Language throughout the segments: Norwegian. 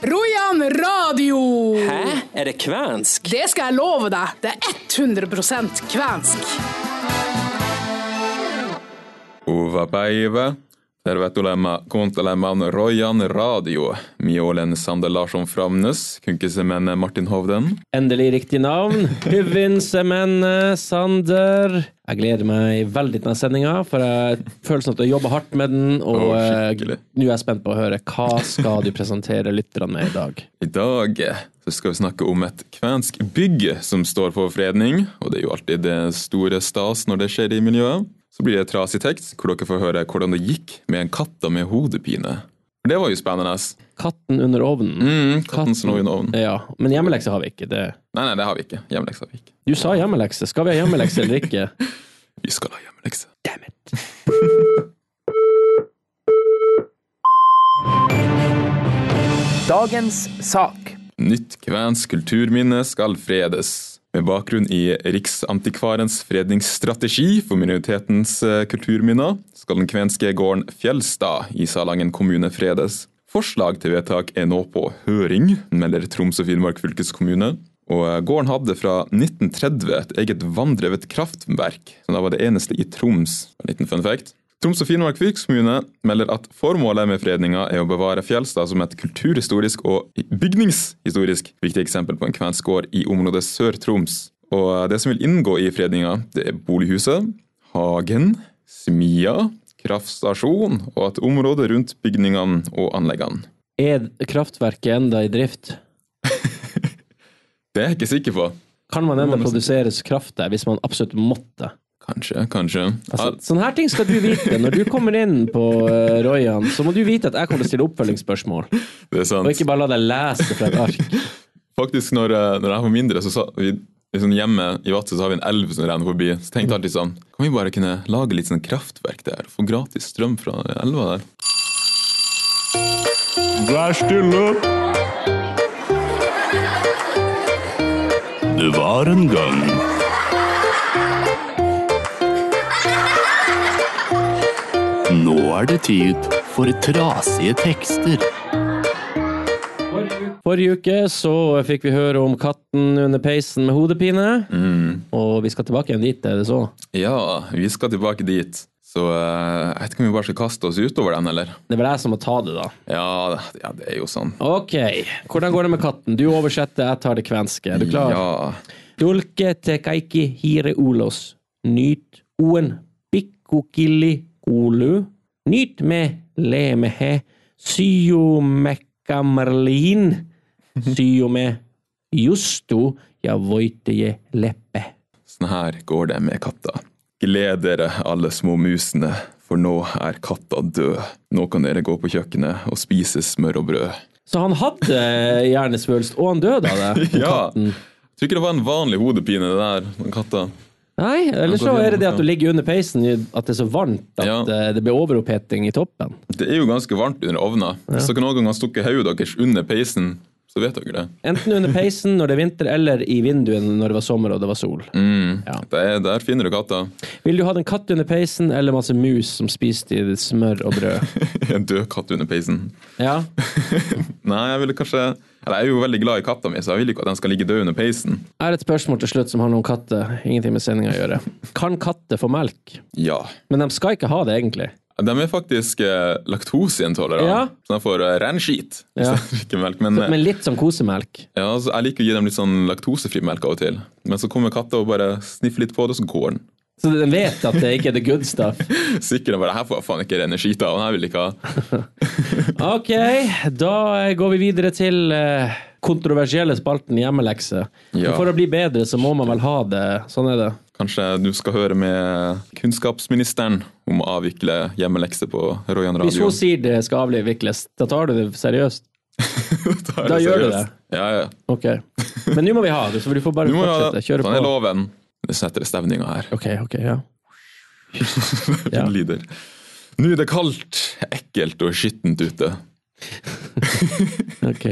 Rojan radio! Hæ? Er det kvensk? Det skal jeg love deg. Det er 100 kvensk. Uva päivä. Tervetulemma kuuntelemaan Rojan Radio. Mie olen Sander Larsson Framnes, kunkisemenne Martin Hovden. Endelig riktig navn. Huvin Semene Sander. Jeg gleder meg veldig til denne sendinga, for jeg føler sånn at du har jobba hardt med den. Og Å, eh, skikkelig. nå er jeg spent på å høre hva skal du presentere lytterne med i dag. I dag eh, så skal vi snakke om et kvensk bygg som står for fredning, og det er jo alltid det store stas når det skjer i miljøet. Så blir det trasig tekst hvor dere får høre hvordan det gikk med en katta med hodepine. For Det var jo spennende. Katten under ovnen. Mm, katten som lå i en ovn. Ja, Men hjemmelekse har vi ikke. Det. Nei, nei, det har vi ikke. Hjemmelekse har vi ikke. Du sa hjemmelekse. Skal vi ha hjemmelekse eller ikke? Vi skal ha hjemmelekse. Damn it. Dagens sak. Nytt kvensk kulturminne skal fredes. Med bakgrunn i Riksantikvarens fredningsstrategi for minoritetens eh, kulturminner skal den kvenske gården Fjelstad i Salangen kommune fredes. Forslag til vedtak er nå på høring, melder Troms og Finnmark fylkeskommune. Og eh, gården hadde fra 1930 et eget vanndrevet kraftverk, som da var det eneste i Troms. En liten fun fact. Troms og Finnmark fylkeskommune melder at formålet med fredninga er å bevare Fjelstad som et kulturhistorisk og bygningshistorisk viktig eksempel på en kvensk gård i området Sør-Troms. Og det som vil inngå i fredninga, det er bolighuset, hagen, smia, kraftstasjon og et område rundt bygningene og anleggene. Er kraftverket enda i drift? Det er jeg ikke sikker på. Kan man enda produseres kraft der, hvis man absolutt måtte? Kanskje, kanskje. Altså, sånne her ting skal du vite. Når du kommer inn på eh, Royan, så må du vite at jeg kommer til å stille oppfølgingsspørsmål. Ja, det er sant. Og ikke bare la deg lese fra et ark. Faktisk, når, eh, når jeg var mindre, så sa vi liksom hjemme i Vadsø så har vi en elv som renner forbi. Så tenkte jeg alltid sånn Kan vi bare kunne lage litt sånn kraftverk der? og Få gratis strøm fra elva der? Vær stille! Det var en gang Nå er det tid for trasige tekster. Forrige uke så fikk vi høre om katten under peisen med hodepine. Og vi skal tilbake igjen dit, er det så? Ja, vi skal tilbake dit. Så eh, jeg vet ikke om vi bare skal kaste oss utover den, eller? Det er vel jeg som må ta det, da. Ja, det- ja det er jo sånn. Ok, hvordan går det med katten? Du oversetter, jeg tar det kvenske. Er du klar? Ja. Tulke te kaikki hiire ulos. Nyt uuen pikkukilli kuulu. Nyt me leemme he syjumme kammerliin. Syjumme justu ja voitteje leppe. Sånn her går det med katta. Gled dere, alle små musene, for nå er katta død. Nå kan dere gå på kjøkkenet og spise smør og brød. Så han hadde eh, hjernesvulst, og han døde av det? Ja. katten. Tror ikke det var en vanlig hodepine, det der, den katta. Nei, eller så er det det at du ligger under peisen, at det er så varmt at Ja. eh, det blir overoppheting i toppen. Det er jo ganske varmt under ovna. Hvis dere noen gang har stukket hodet deres under peisen, så vet dere det. Enten under peisen når det er vinter, eller i vinduet når det var sommer og det var sol. Ja. det er, der finner du katta. Vil du ha en katt under peisen eller masse mus som spiste i ditt smør og brød? En død katt under peisen. Ja, Nei, jeg ville kanskje Eller jeg er jo veldig glad i katta mi, så jeg vil ikke at den skal ligge død under peisen. Jeg har et spørsmål til slutt som handler om katter. Ingenting med sendinga å gjøre. Kan katter få melk? Ja. Men de skal ikke ha det, egentlig. De er faktisk eh, laktoseintolerante, Ja. så de får eh, renskit hvis Ja. de drikker melk. Men, eh, Men litt som kosemelk. ja, så jeg liker å gi dem litt sånn laktosefri melk av og til. Men så kommer katta og bare sniffer litt på det, og så går den. Så de vet at det ikke er the good stuff. Sikkert bare, her får jeg faen ikke renne skit av, den her vil jeg ikke ha. Ok, da går vi videre til eh, kontroversielle spalten hjemmelekse. Ja. For å bli bedre så må man vel ha det. Sånn er det. Kanskje du skal høre med kunnskapsministeren om å avvikle hjemmelekser på Royan Hvis radio. hun sier det skal avvikles, da tar du det seriøst? er da gjør du seriøst. Ja, ja. Ok. Men nå må vi ha det, så du får bare Du må jo fortsette. Kjøre Sånn er på. loven. Det setter stemninga her. Ok, ok, ja. Ja. Den lyder. Nå er det kaldt, ekkelt og skittent ute. Ok.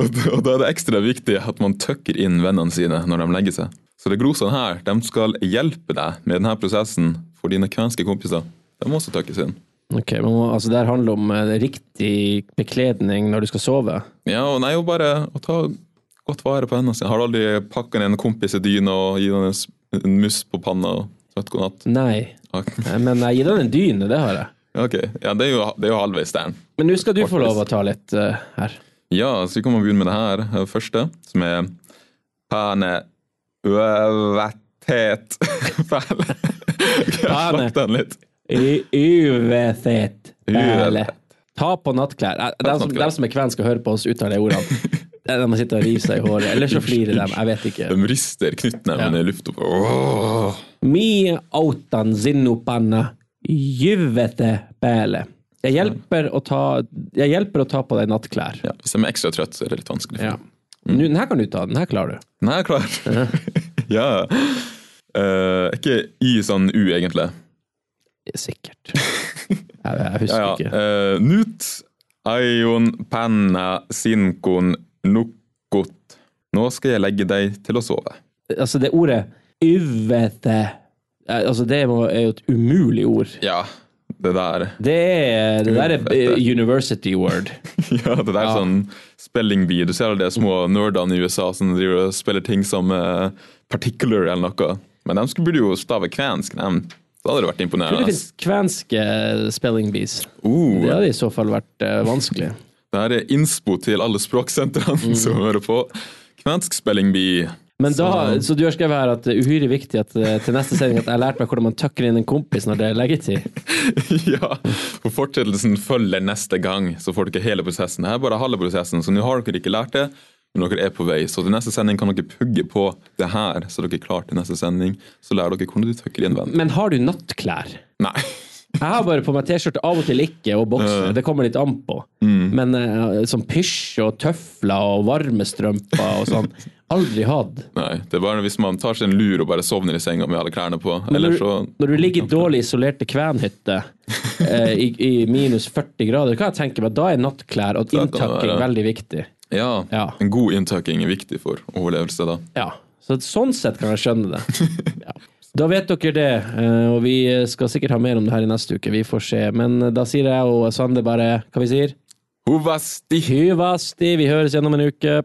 Og da- og da er det ekstra viktig at man tøkker inn vennene sine når de legger seg. Så det grosene her, de skal hjelpe deg med denne prosessen for dine kvenske kompiser. De må også tøkkes inn. Ok, men må- altså, Det her handler om eh, riktig bekledning når du skal sove. Ja, og nei, jo bare å ta godt vare på hendene sine. Har du aldri pakket ned en kompis i dyna og gitt han en s- en mus på panna og sagt god natt? Nei, Ja, Nei, men jeg gir deg en dyne, det har jeg. Ok, ja, det er jo, det er jo halvveis der. Men nå skal du få lov å ta litt eh, her. Ja, så vi kommer å begynne med det her eh, første, som er Pane øvethet. Fæl. Jeg Pane. slakte den litt. Uvethet. Uvethet. Ta på nattklær. Eh, De som, nattklær. de som er kven skal høre på oss uttale de ordene. Eh, De må sitte og rive seg i håret, eller så flirer de. Jeg vet ikke. De rister knyttneven i lufta. Åh. Mi autan sinnopanna jyvete bæle. Jeg hjelper, å ta, jeg hjelper å ta på deg nattklær. Ja, hvis de er ekstra trøtt, så er det litt vanskelig. for Ja. dem. Nu, den her kan du ta. Den her klarer du. Den er klar. ja. Eh, ikke i sånn U, egentlig. Sikkert. Jeg, jeg husker Ja, ja. ikke. Eh, Nut aion panna sinkon nukkot. Nå skal jeg legge deg til å sove. Altså, det ordet yvete eh, Altså, det må- er jo et umulig ord. Ja, det der. Det er det der er eh, university word. Ja, det der er sånn spellingbee. Du ser alle de små nerdene i USA som driver og spiller ting som eh, particular eller noe. Men de skulle- burde jo stave kvensk, dem. Så hadde det vært Det imponerende. finnes kvenske spelling bees. Uh, Det hadde i så fall vært eh, vanskelig. det her er innspo til alle språksentrene som Mm. hører på. Kvensk spellingbee. Men da, så du har skrevet her at det er uhyre viktig at eh, til neste sending at jeg lærte meg hvordan man tucker inn en kompis når det er leggetid. ja, for fortsettelsen følger neste gang, så får dere hele prosessen. Her er bare halve prosessen, så nå har dere ikke lært det, men dere er på vei. Så til neste sending kan dere pugge på det her, så dere er klar til neste sending. Så lærer dere hvordan du tøkker inn venn. Men har du nattklær? Nei. Jeg har bare på meg T-skjorte, av og til ikke, og bokser. Det kommer litt an på. Mm. Men eh, sånn pysj og tøfler og varmestrømper og sånn, aldri hatt. Nei, det er bare hvis man tar seg en lur og bare sovner i senga med alle klærne på. Eller Når, så du- når du ligger i dårlig isolerte kvenhytter eh, i, i minus 40 grader, kan jeg tenke meg, da er nattklær og kan det inntakking være. veldig viktig. ja, Ja. en god inntøking er viktig for overlevelse, da. Ja, så sånn sett kan jeg skjønne det. Ja. Da vet dere det, eh, og vi skal sikkert ha mer om det her i neste uke, vi får se. Men eh, da sier jeg og Sander bare hva vi sier. Hovasti! Hyvasti, vi høres gjennom en uke.